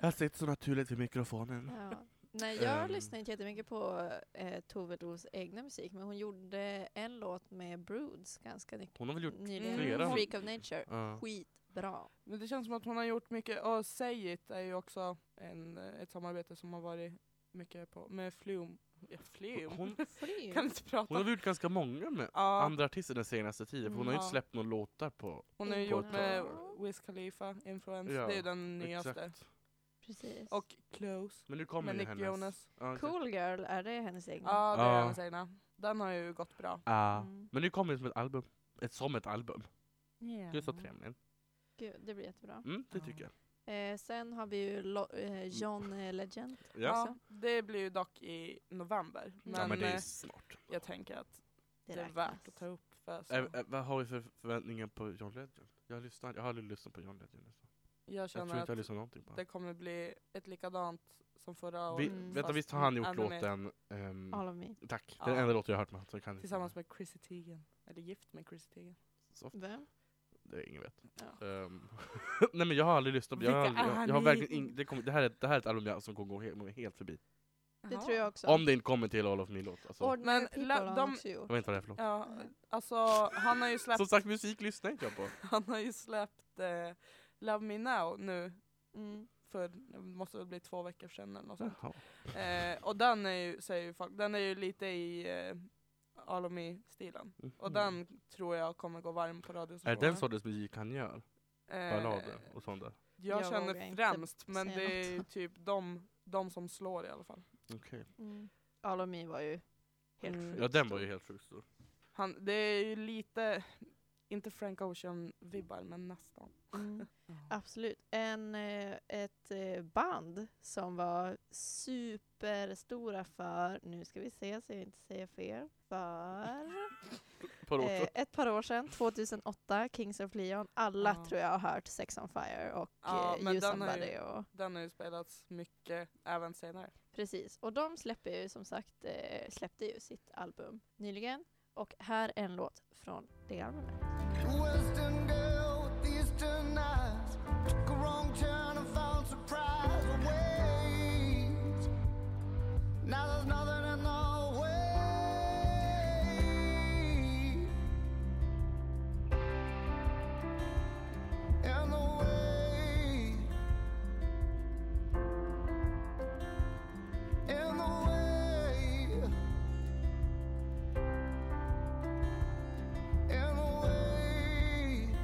Jag sitter så naturligt vid mikrofonen.
Ja. Nej, jag
Ehm.
lyssnar inte jättemycket på eh, Tove Los egna musik, men hon gjorde en låt med Broods ganska ny-
Hon har väl gjort...
nyligen.
Mm.
flera.
Freak of Nature.
Ja.
Skitbra.
Men det känns som att hon har gjort mycket, och Say It är ju också en, eh, ett samarbete som har varit mycket på, med Flume. Ja, Flume?
hon,
Flyg.
kan inte prata.
hon har väl gjort ganska många med
ja,
andra artister den senaste tiden, för hon har ju
Ja.
inte släppt några låtar på...
hon har ju
på
gjort
ett
med
tag.
Wiz Khalifa, Influence,
Ja,
det är ju den nyaste.
Exakt.
Precis.
Och Close
Men nu kommer
med
ju
Nick
hennes...
Jonas.
Ja, exakt.
Cool Girl, är det hennes egna?
Ja, det är
Ja.
hennes egna. Den har ju gått bra.
Ja.
Mm.
Men nu kommer det som ett album. Ett, som ett album. Det är så trevligt.
Gud, det blir jättebra.
Mm, det
Ja.
tycker jag.
Eh, sen har vi ju Lo- eh,
Mm.
John eh, Legend.
Ja.
Ja, det blir ju dock i november. Men,
ja, men det är
eh,
snart.
jag tänker att det, är
räknas.
värt att ta upp. För så.
Äh, äh, vad har vi för förväntningar på John Legend? Jag, lyssnar, jag har aldrig lyssnat på John Legend. Alltså.
jag
Jag
känner
tror inte jag har
att
lyssnat någonting på
det
honom.
kommer bli ett likadant som förra året.
Vi,
Mm.
Vänta,
fast
visst har han gjort
anime.
låten... ehm,
All of me.
tack, det
Ja.
är den enda låten jag har hört med honom, så jag kan inte-
Tillsammans med Chrissy Teigen. Eller gift med Chrissy Teigen.
Soft.
Vem?
Det är ingen vet.
Ja.
Ehm, Nej men jag har aldrig lyssnat på jag har,
Vilka
aldrig,
är
jag, jag har
ni?
verkligen ing, det, kommer, det, här är, det här är ett album jag, som kommer gå helt, helt förbi.
Det
Jaha.
tror jag också.
Om det inte kommer till All of Me låt. Alltså, jag
Ordinary
Men
People
la- de-
har de... också gjort.
vet inte vad det är för låt.
Ja,
Nej.
alltså han har ju släppt,
Som sagt, musik lyssnar inte jag på.
han har ju släppt eh, Love Me Now nu
Mm.
för det måste väl bli två veckor sedan eller något sånt.
Jaha.
Eh, och den är ju, säger ju folk, den är ju lite i eh, All of Me-stilen. Och den tror jag kommer gå varm på radio.
Mm. Är den sortens musik han gör?
eh,
Ballader och sånt där?
Jag,
Jag vågar
känner
inte
främst, men
säga
det är ju typ de, de som slår i alla fall.
Okej.
Mm. All of me var ju helt
Mm.
sjukt
Ja den
stor.
var ju helt sjukt stor.
Han, det är ju lite, inte Frank Ocean-vibbar, men nästan.
Mm. Absolut. En, eh, ett eh, band som var superstora för, nu ska vi se så jag inte säger fel, för
Par år
eh, ett par år sedan, 2008, Kings of Leon. Alla
Ja.
tror jag har hört Sex on Fire och
Ja,
eh,
men
You
den har ju-
Somebody. Och,
Den har ju spelats mycket även senare.
precis. Och de släpper ju som sagt, eh, släppte ju sitt album nyligen. Och här är en låt från det albumet.
Western girl with eastern eyes took a wrong turn and found surprise awaits. Now there's nothing in the way. In the way. In the way. in the way.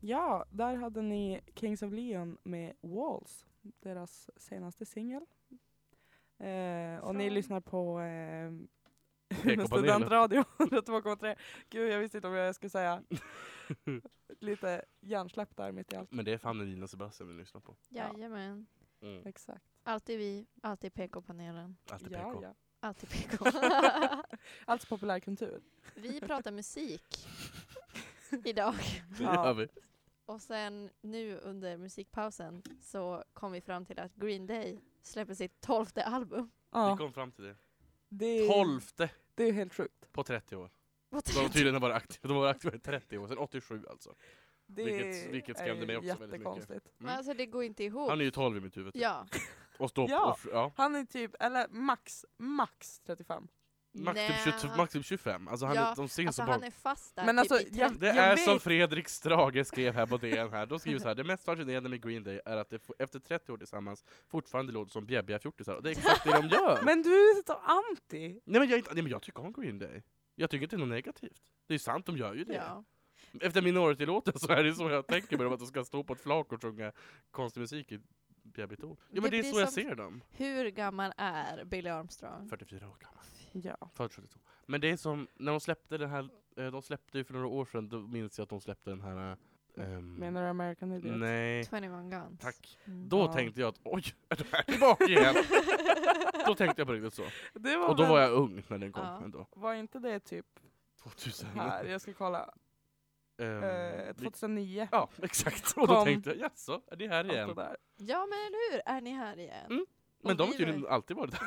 Ja, där hade ni Kings of Leon med Walls, deras senaste singel. Eh, och ni
Från-
lyssnar på eh,
PK-panelen.
Studentradio 102,3. Gud, jag visste inte om jag skulle säga. Lite hjärnsläpp där mitt i allt.
Men det är fan den Nina Sebastian vi lyssnar på.
Ja.
Jajamän.
Mm.
Exakt.
Alltid vi, alltid PK-panelen.
Alltid
Ja,
PK.
ja.
Alltid PK.
Alltså populärkultur.
vi pratar musik idag.
Det
Ja.
gör vi.
Och sen nu under musikpausen så kom vi fram till att Green Day släpper sitt tolfte album.
Vi
Ja,
kom fram till det.
det är,
Tolfte
det är helt sjukt.
på 30 år.
Vad
De har
trevligt.
tydligen varit aktiva, de har varit aktiva i 30 år, sedan 87 alltså.
Det
Vilket- vilket skrämde
är
mig också väldigt mycket.
jättekonstigt.
Men alltså det går inte ihop.
Mm. Han är ju 12 i mitt huvud. typ.
Ja.
Och står
Ja.
ja. Och, ja.
Han är typ, eller max, max 35.
Max,
Nej.
typ 20, max typ 25. Alltså han
Ja,
är, de syns
Alltså
som barn.
han är fast där.
Men
typ
alltså,
i
jag-
trettio.
Det är
vet.
som Fredrik Strage skrev här på DN här, de skriver så här, det mest fascinerande med Green Day är att det f- efter 30 år tillsammans fortfarande låter som bjäbbiga fjortisar, och det är exakt det de gör!
Men du är så anti!
Nej, men jag, är inte- nej men jag tycker om Green Day, jag tycker inte det är något negativt. Det är sant, de gör ju det.
Ja.
Efter Minority-låten så är det så jag tänker med dem, att de ska stå på ett flak och sjunga konstig musik i bjäbbigt ord. Ja men
Det
det,
blir
är så jag
som-
ser dem.
Hur gammal är Billy Armstrong?
44 år gammal.
Ja.
Född 72. Men det är som, när de släppte den här, eh, de släppte ju för några år sedan, då minns jag att de släppte den här eh, Ehm,
Menar du American Idiot?
Nej,
21 Guns.
tack.
Mm.
Då
Ja.
tänkte jag att oj, är de här tillbaka igen? då tänkte jag på riktigt så.
Det var,
Och då
väl-
var jag ung när den kom
Ja.
ändå.
var inte det typ
2000.
här, jag ska kolla,
Ehm,
eh,
vi-
2009?
Ja, exakt. Och då
Kom.
tänkte jag, jaså, är det här
Allt det
igen?
där.
Ja men eller hur, är ni här igen?
Mm. Men
Och
de
vi
har tydligen
var-
alltid varit där.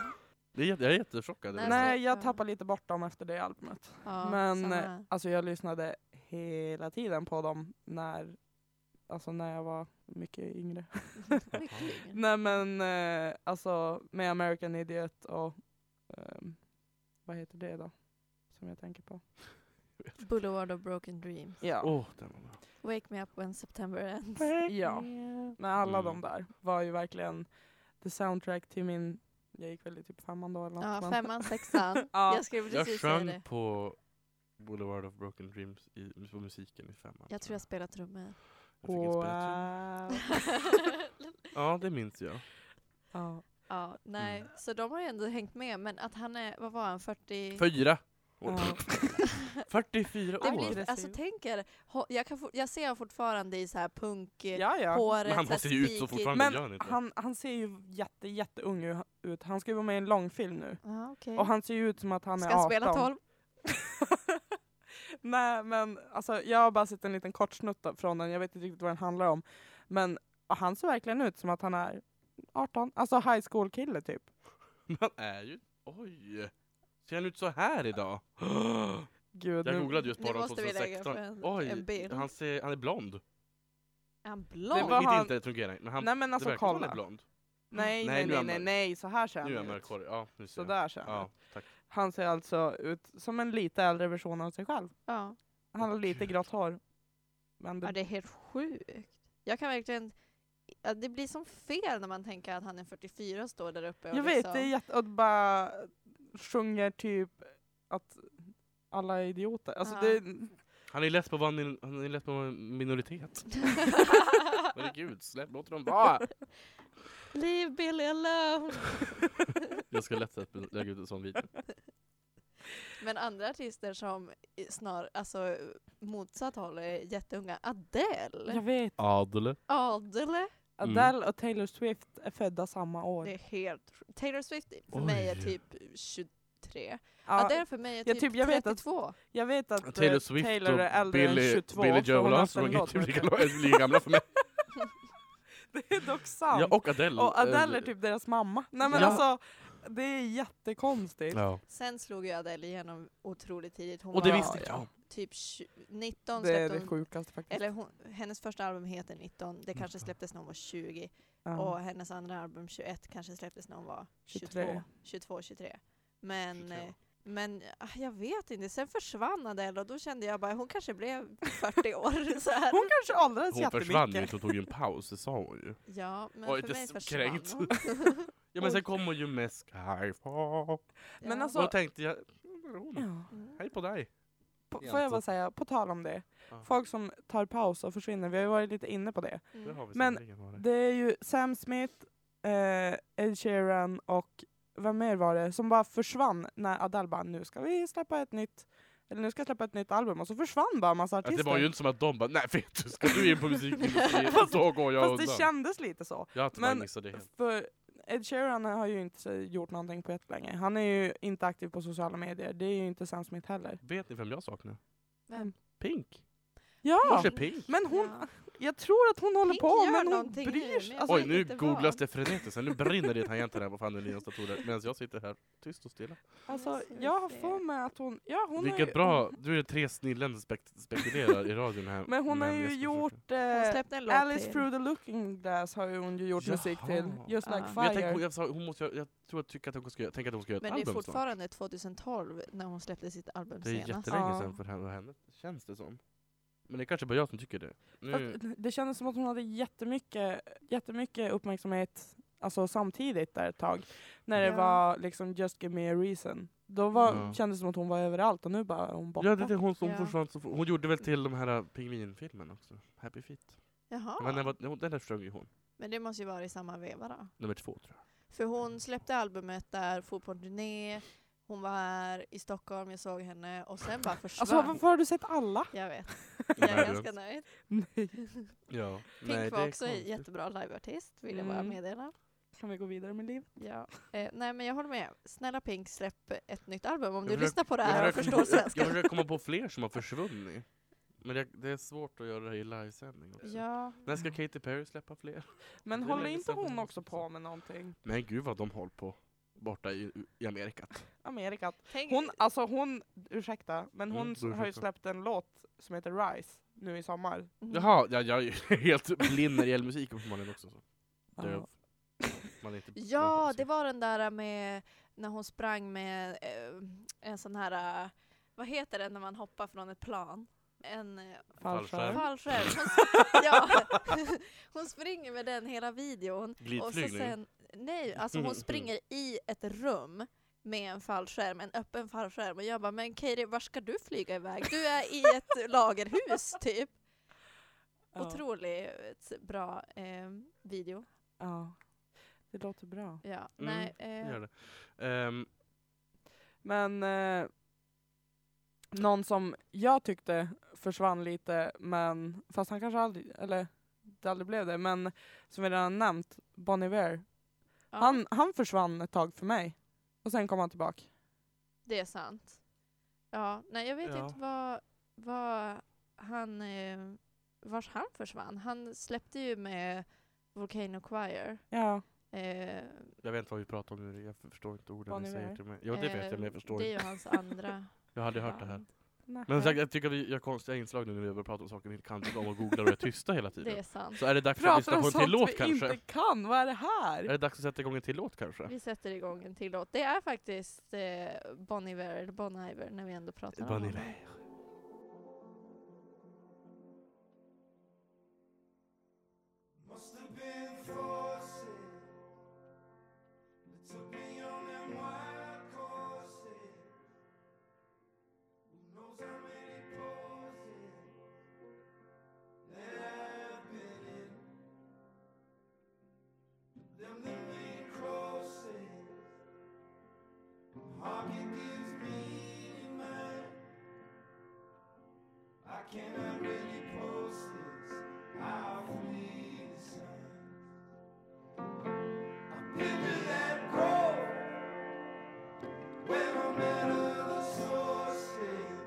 Det är jätte- Jag är jättechockad. över det.
Nej,
så-
jag
ja.
tappade lite bort dem efter det albumet.
Ja,
Men,
samma
eh,
här.
Alltså jag lyssnade hela tiden på dem när, alltså när jag var mycket yngre. eh,
Lycklig.
Nej men eh, alltså med American Idiot och ehm, vad heter det då? Som jag tänker på.
Boulevard of Broken Dreams.
Ja.
Åh, den var bra.
Wake me up when September ends.
Ja. Men alla
Mm.
de där var ju verkligen the soundtrack till min, jag gick väl i typ femman då eller något.
Ja,
men-
femman, sexan.
Ja.
Jag skulle
Jag
precis säga
sjöng
det.
på Boulevard of Broken Dreams i, på musiken i femman.
Jag tror jag spelar trummor.
Jag fick inspiration.
Wow.
Ja, det minns jag.
ja.
ja, nej.
Mm.
Så de har ju ändå hängt med. Men att han är, vad var han, 40?
Fyra år.
Ja.
44
Det
år!
blir, alltså
Aggressiv.
tänk er, ho- jag, kan for, jag ser honom fortfarande i så här punk, eh,
ja, ja.
håret,
Men han
så här
ser ju ut så
spikigt.
fortfarande, gör han
Men
inte?
han, han ser ju jätte, jätteung u- ut. Han ska ju vara med i en långfilm nu.
Ja, okej.
Och han ser ju ut som att han
Ska
är 18.
han spela 12?
Nej men alltså jag har bara sett en liten kort snutt av- från den. Jag vet inte riktigt vad den handlar om. Men ah, han ser verkligen ut som att han är 18. Alltså high school kille typ.
Men han är ju... Oj! Ser han ut så här idag?
Gud,
Jag
nu-
googlade just på
Nu
honom
måste vi lägga upp
2016.
en- en
Oj,
bild.
han, ser, han är blond.
Är han
Det
blond?
var
Vilket
han-
inte fungerar, men han,
Nej men
det
alltså
verkar som han
kolla.
är blond.
Nej nej
Nej, nu
nej
är han
nej,
mörk.
nej, så här ser han
Nu är
ut.
han mörkhårig. Ja, nu ser
Så
jag.
där ser han
Ja,
ut.
tack.
Han ser alltså ut som en lite äldre version av sig själv.
Ja.
Han har lite
Gud.
grått hår. Men
ja,
det,
det är helt sjukt. Jag kan verkligen... Ja, det blir som fel när man tänker att han är 44 och står där uppe och
jag vet,
liksom...
det är jätte... Och bara sjunger typ att alla är idioter. Alltså
Ja.
det,
Han är less på att vara en- han är less på att vara en minoritet. Men gud, släpp, låt dem vara!
Leave Billy alone!
Jag ska lätt sätt lägga ut en sån video.
Men andra artister som i- snar, alltså motsatt håll är jätteunga. Adele!
jag vet.
Adele.
Adele!
Mm.
Adele och Taylor Swift är födda samma år.
Det är helt sjukt. Taylor Swift för
Oj.
mig är typ 23.
Ja,
Adele för mig är
jag
typ,
typ- jag vet att-
32.
jag vet att eh,
Taylor Swift
Taylor är
och
äldre
Billy,
än 22.
Billy
för
Joel
hon har haft en
Armstrong är
låt
typ
med
lika,
sig.
lång- lika gamla för mig.
Det är dock sant.
Ja, och Adele.
och Adele
Eh,
är typ deras mamma. Nej men
Ja.
alltså, det är jättekonstigt.
Ja.
Sen slog ju Adele igenom otroligt tidigt. Hon
Och det
var
visste inte jag.
typ 20, 19
Det är
släppte
det
hon,
sjukaste faktiskt.
eller hon, hennes första album heter 19,
Mm.
det kanske släpptes när hon var 20.
Ja.
Och hennes andra album 21 kanske släpptes när hon var 22,
23.
22 23. Men,
23.
eh, men ah, jag vet inte, sen försvann Adele och då kände jag bara hon kanske blev 40 år. Så här.
Hon kanske åldrades
Hon försvann ju
jättemycket.
inte, hon tog ju en paus, det sa hon ju.
Ja, men
Oj,
för
det
mig
är så
försvann
kränkt.
hon.
Ja men sen kom hon ju med Skyfall.
Men
Ja.
alltså-
Då tänkte jag, "Mm, var är hon?
Ja.
Mm.
hej på dig.
På,
Helt
får jag bara
sant.
säga, på tal om det.
Ja.
Folk som tar paus och försvinner, vi har ju varit lite inne på det.
Det
Mm.
har vi
Men
sannerligen varit.
Det är ju Sam Smith, eh, Ed Sheeran och vem mer var det som bara försvann när Adele bara nu ska vi släppa ett nytt eller nu ska jag släppa ett nytt album och så försvann bara en massa
Att Alltså, det
artister.
var ju inte som att de bara, nej vet du, ska du in på musikindustrin
Fast-
då går jag
Fast det
undan.
kändes lite så.
Jag tror jag
men-
missade det helt.
För Ed Sheeran har ju inte gjort någonting på jättelänge. Han är ju inte aktiv på sociala medier. Det är ju inte Sam Smith heller.
Vet ni vem jag saknar?
Vem?
Pink.
Ja!
Kanske Pink.
Men hon,
Ja.
jag tror att hon håller
Pink
på
gör
men hon
någonting nu,
bryr sig.
men jag
Alltså,
Oj
vet
nu
inte
googlas
vad.
det frenetiskt, här. nu brinner det i tangenterna på fan Elias datorer medan jag sitter här tyst och stilla.
Alltså,
Så vi
jag har
ser.
för mig att hon... Ja, hon har ju,
Vilket bra, du är det tre snillen spek spekulerar i radion här.
Men hon har
jag
ju
ska
gjort...
Hon
Eh,
släppte en låt
Alice
till.
through the looking glass har ju hon ju gjort musik till.
Jaha.
Just
Ja.
like
Men
Men jag,
fire.
tänker, hon- jag, sa, hon måste, göra- jag tror jag tycker att hon ska, jag tänker att hon ska göra ett
Men det
album
är
snart.
fortfarande 2012 när hon släppte sitt album
Det är
senast.
jättelänge
Ja.
sedan för henne, och henne, känns det som. Men det är kanske bara jag som tycker det. Nu,
Fast Det kändes som att hon hade jättemycket, jättemycket uppmärksamhet alltså samtidigt där ett tag. När det
Ja.
var liksom just give me a reason. Då var,
Ja.
kändes det som att hon var överallt och nu bara är hon borta.
ja, det, det, är hon, som
Ja.
försvann, så fort. hon gjorde väl till de här äh, pingvinfilmen också, Happy Feet.
Jaha.
Men den, var, den- den där sjöng ju hon,
Men det måste ju vara i samma veva då.
nummer två tror jag.
För hon släppte albumet där, for på en turné, Hon var här i Stockholm, jag såg henne och sen bara försvann.
Alltså varför har du sett alla?
Jag vet. Jag
Nej,
är ganska
det-
nöjd.
Nej.
Ja.
Pink
Nej, det
var
är
också en
konstigt.
jättebra liveartist, vill jag bara
Mm.
meddela.
Kan vi gå vidare med livet?
Ja. Eh, nej men jag håller med. Snälla Pink, släpp ett nytt album om
Jag
du
försöker-
lyssnar på det
jag
här och
försöker-
förstår
Jag
svenska.
försöker komma på fler som har försvunnit. Men det, det är svårt att göra det här i livesändning också.
Ja,
När ska Katy Perry släppa fler?
Men
Det är
håller
länge
inte
sedan
hon
hon
också
var så
på
stor.
med någonting?
Nej gud vad de håller på borta i, i Amerika.
Amerika.
tänk,
Hon, alltså hon, ursäkta, men
Mm,
hon
du
har ju
ursäkta.
släppt en låt som heter Rise nu i sommar.
Mm.
Jaha, ja, jag är helt blind när det gäller musik uppenbarligen också. Så. Döv. Man är inte, man
Ja,
är-
det var den där med när hon sprang med eh, en sån här, eh, vad heter det när man hoppar från ett plan? En eh,
Fallskärm.
fallskärm. Hon, s- ja, hon springer med den hela videon. Och så
Glidflygning.
sen, nej, alltså hon springer i ett rum med en fallskärm, en öppen fallskärm. Och jag bara, men Katie, var ska du flyga iväg? Du är i ett lagerhus typ.
Ja.
Otroligt bra eh, video.
Ja. Det låter bra.
Ja,
Mm,
nej, eh,
Gör det. Ehm,
Men eh, någon som jag tyckte försvann lite, men fast han kanske aldrig, eller det aldrig blev det, men som vi redan nämnt, Bon Iver.
ja.
Han, han försvann ett tag för mig. Och sen kom han tillbaka.
Det är sant. Ja, nej jag vet
Ja.
inte vad, vad han, eh, vars han försvann. Han släppte ju med Volcano Choir.
Ja.
Eh,
jag vet inte vad vi pratar om nu, jag förstår inte orden
Bon
ni
Iver.
säger till mig. Ja det vet
eh,
jag men jag förstår
Det är
inte.
ju hans andra
Jag hade hört det här.
band.
Men som sagt, jag tycker att vi gör konstiga inslag nu när vi börjar prata om saker vi inte kan tycka om och googlar och är tysta hela
Det är
tiden.
sant.
Så är det dags att
Pratar
lyssna
om
på en till
sånt
låt
vi
kanske?
inte kan, vad är det
Är
här?
det dags att sätta igång en till låt kanske?
Vi sätter igång en till låt. Det är faktiskt eh, Bon Iver, eller Bon Iver, när vi ändå pratar om
Bon
honom.
Iver.
Must have been forcing to be on them wild courses. Who knows how many poses that I've been in? Them that lean closest, Hockey gives me mine. I cannot really post this. I flee the signs. I picture that grove where no matter the sources,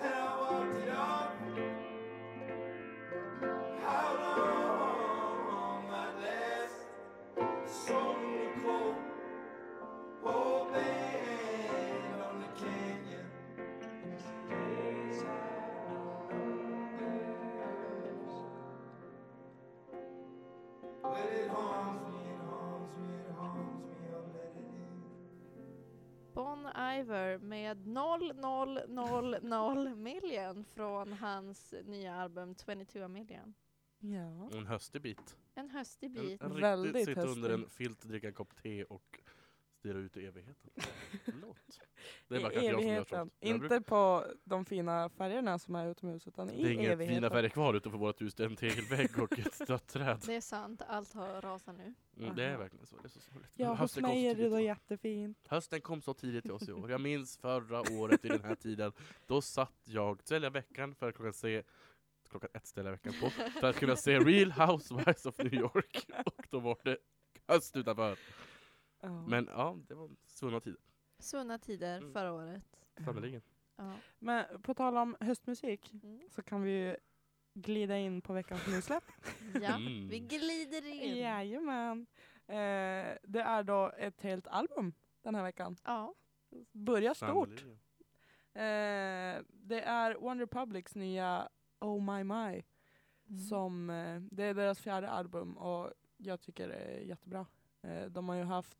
and I walked it off. How long might last? So the cold, old band on the canyon. Well, it harms me, it harms me, it harms me, I'll let it in.
Bon Iver med 0000 million från hans nya album 22 million.
Ja.
En höstig bit.
En höstig
En,
bit.
en
Väldigt
riktigt sitta
höstig.
under en filt, dricka en kopp te och stirra ut i evigheten. Låt. Det är bara
I
kanske jag som gör
evigheten.
sånt. Jag
Inte
brukar-
på de fina färgerna som är utomhus, utan i
det är inga
evigheten.
fina färger kvar utanför vårt hus, det är en tegelvägg och ett dött träd.
Det är sant, allt har rasat nu.
Mm, det är
Aha.
verkligen så. Det är så sorgligt.
Ja,
Men
hos
hösten kom
mig
så
är det
tidigt
då
i år.
jättefint.
Hösten kom så tidigt till oss i år. Jag minns förra året vid den här tiden. Då satt jag sälja veckan för att kunna se klockan ett ställer veckan på för att kunna se Real Housewives of New York och då var det höst utanför.
Ja.
Men ja, det var svunna tider.
Svunna tider
Mm.
förra året.
Sannerligen.
Ja.
Men på tal om höstmusik
Mm.
så kan vi ju glida in på veckans nysläpp.
ja,
Mm.
vi glider in.
Jajamän. Eh, det är då ett helt album den här veckan.
Ja,
Börjar stort.
Sannerligen.
Eh, det är One Republics nya Oh My My.
Mm.
Som, eh, det är deras fjärde album och jag tycker det är jättebra. Eh, de har ju haft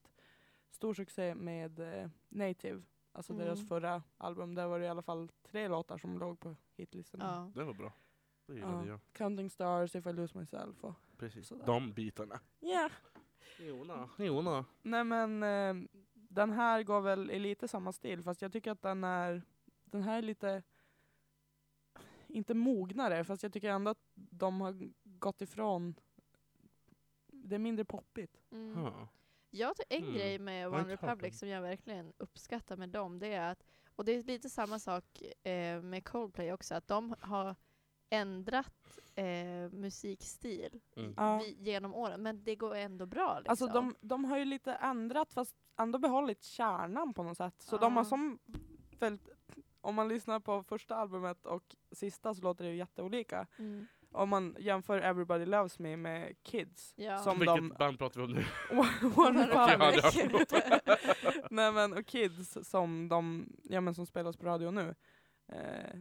stor succé med eh, Native, alltså deras
Mm.
förra album. Där var det i alla fall tre låtar som låg på hitlistan.
ja.
Det var bra. Det gillade
Ja.
jag.
Counting Stars, If I Lose Myself och
Precis.
Sådär.
De bitarna.
Ja.
Jona. Jona.
Nej men eh, den här går väl i lite samma stil fast jag tycker att den är, den här är lite, inte mognare fast jag tycker ändå att de har gått ifrån, det är mindre poppigt.
Mm.
Ja.
Jag tror en
Mm.
grej med
Var
One
inte här
Republic
för-
som jag verkligen uppskattar med dem, det är att, och det är lite samma sak eh, med Coldplay också, att de har ändrat eh, musikstil
Mm.
Ja.
vi, genom åren, men det går ändå bra. Liksom.
Alltså de, de har ju lite ändrat fast ändå behållit kärnan på något sätt. Så de
Ja.
har som följt, om man lyssnar på första albumet och sista så låter det ju jätteolika.
mm.
Om man jämför Everybody Loves Me med Kids.
ja.
som
Vilket
de-
band pratar vi om nu?
One
ja,
Republic.
ja.
Nej men och Kids som de, ja men som spelas på radio nu. Eh,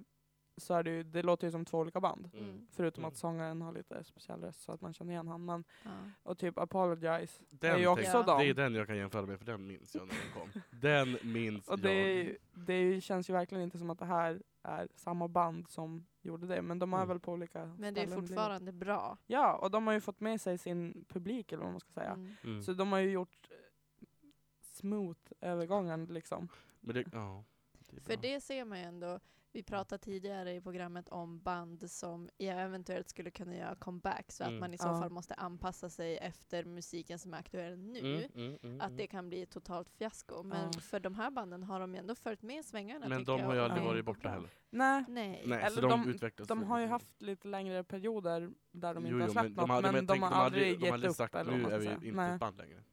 så är det ju, det låter ju som två olika band.
Mm.
Förutom
Mm.
att sångaren har lite speciell röst så att man känner igen honom. Men,
Ja.
och typ Apologize
Den
är ju också
tänkte-
Ja.
dem.
Det är den jag kan jämföra med, för den minns jag när den kom. Den minns
Och
jag.
det, är ju- det är ju- känns ju verkligen inte som att det här är samma band som gjorde det, men de är
Mm.
väl på olika
Men
ställen
det
i
är
livet.
fortfarande bra.
Ja, och de har ju fått med sig sin publik eller vad man ska säga.
Mm.
Mm.
Så de har ju gjort eh, smooth övergången liksom.
Men det, ja, det är
För
bra.
det ser man ju ändå, vi pratade tidigare i programmet om band som eventuellt skulle kunna göra comeback, så att
Mm.
man i så
Ja.
fall måste anpassa sig efter musiken som är aktuell nu.
Mm, mm, mm,
Att
mm.
det kan bli ett totalt fiasko. Men
Ja.
för de här banden har de ju ändå följt med svängarna
Men
tycker
de
jag,
har ju
och
aldrig
det
Ja.
är
varit
ändå
borta
bra.
heller.
Nej,
Nej.
Nej,
Eller
så de,
de-
utvecklas.
de har ju
Mm.
haft lite längre perioder där de
Jo,
inte
jo,
har släppt
de
något,
hade-
men,
jag
de
tänkte,
har aldrig
de
gett
hade
upp.
sagt,
eller vad
nu
man
är
ska
vi
säga.
inte
Nej.
ett band längre.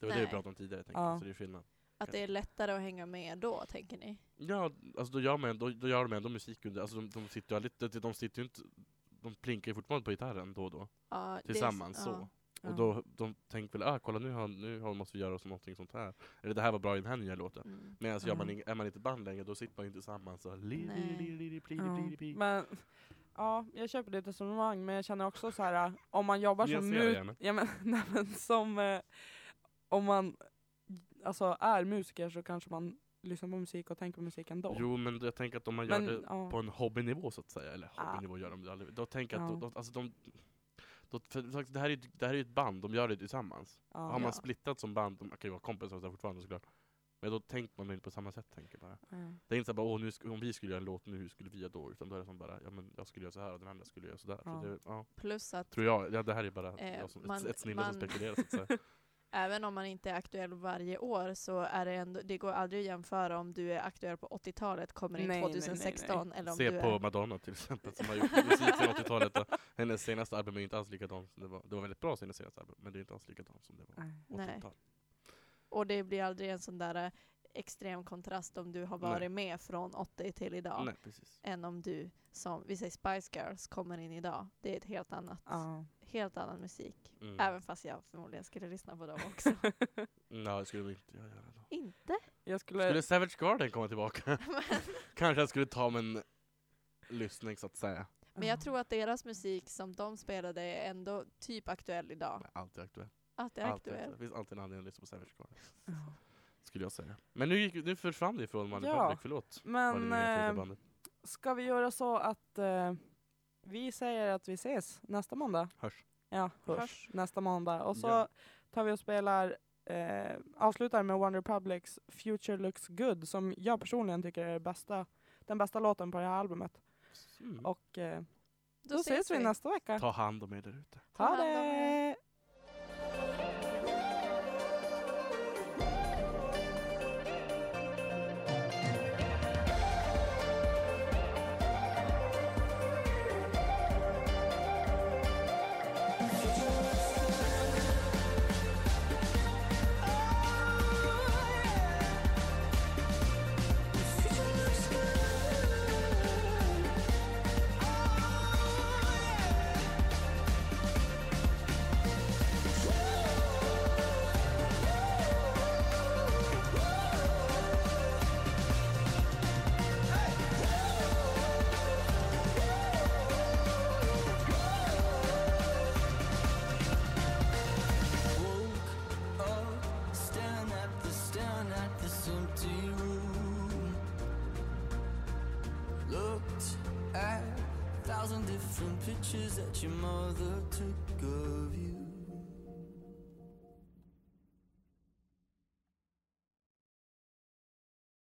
Det var det vi
Nej.
pratade om tidigare, tänkte
Ja.
jag, så det är skillnad.
Att det är lättare att hänga med då, tänker ni?
Ja, alltså då gör, man, ändå- då gör de ändå musik under, alltså de, de sitter ju aldrig, de, de sitter ju inte, de plinkar ju fortfarande på gitarren då och då,
Ja, det är s-
tillsammans så.
ja.
Ja.
Och då, de tänker väl, ah, kolla nu, har, nu har, måste vi göra så- någonting sånt här. Eller det här var bra i den här nya låten.
Mm.
Men alltså, gör man,
Mm.
ing- är man inte band längre, då sitter man ju inte tillsammans och li- li-
Nej.
li- li- li- pli- pli-
Ja.
pli-
Men ja, jag köper ditt resonemang men jag känner också så här om man jobbar
Jag
som
ser det
mu-
gärna.
ja, men, nej, men som eh, om man alltså är musiker så kanske man lyssnar på musik och tänker på musik ändå.
Jo, men jag tänker att om man gör
men,
det
ja.
på en hobbynivå så att säga, eller
Ah.
hobbynivå gör de det aldrig. Då tänker jag att,
Ja.
då, då, alltså de, då, för, sagt, det här är ju det här är ju ett band, de gör det tillsammans.
ja.
Har man
Ja.
splittat som band, de kan ju vara kompisar så fortfarande såklart. Men då tänker man inte på samma sätt, tänker jag bara.
Ja.
Det är inte så bara, Åh, nu sk- om vi skulle göra en låt nu, hur skulle vi göra då? Utan då är det som bara, ja men jag skulle göra så här och den andra skulle göra så där.
Ja.
Så det, ja,
Plus att
tror jag, ja, det här är bara
Eh,
jag som,
man-
ett, ett snille
man-
som spekulerar så att säga.
även om man inte är aktuell varje år så är det ändå, det går aldrig att jämföra om du är aktuell på 80-talet, kommer in
Nej, nej, nej, nej.
2016 eller om
Se
du
på
är...
Madonna till exempel som har gjort musik från 80-talet. och Hennes senaste album är ju inte alls likadant som det var. Det var väldigt bra hennes senaste album, men det är inte alls likadant som det var.
Nej.
Ah, Nej.
80-tal.
Och det blir aldrig en sån där eh, extrem kontrast om du har varit
Nej.
med från 80 till idag.
Nej, precis.
Än om du, som vi säger Spice Girls, kommer in idag. Det är ett helt annat,
Ja.
helt annan musik.
Mm.
Även fast jag förmodligen skulle lyssna på dem också.
Nej, det skulle vi inte jag göra då.
inte?
Jag
Skulle
skulle,
Savage Garden komma tillbaka?
Men,
Kanske jag skulle ta om en lyssning så att säga.
men jag tror att deras musik som de spelade är ändå typ aktuell idag.
Men Alltid aktuell.
Att det är
Alltid
aktuell.
aktuell. Det finns alltid en anledning att lyssna på Savage Garden.
Ja.
Skulle jag säga. Men nu, gick, nu försvann det ifrån Money
Ja.
Public, förlåt. Vad
Men
det nu heter,
ehm,
det
eh,
bandet.
ska vi göra så att eh, vi säger att vi ses nästa måndag?
Hörs.
Ja, hörs.
Hörs.
Nästa måndag. Och så
Ja.
tar vi och spelar, eh, avslutar med One Republics Future Looks Good som jag personligen tycker är det bästa, den bästa låten på det här albumet.
Mm.
Och eh, då, ses vi, nästa vecka.
Ta hand om er där ute.
Ta
Ha
hand om er.
det!
Woke up, staring at the staring at this empty room. Looked at a thousand different pictures that your mother took of you.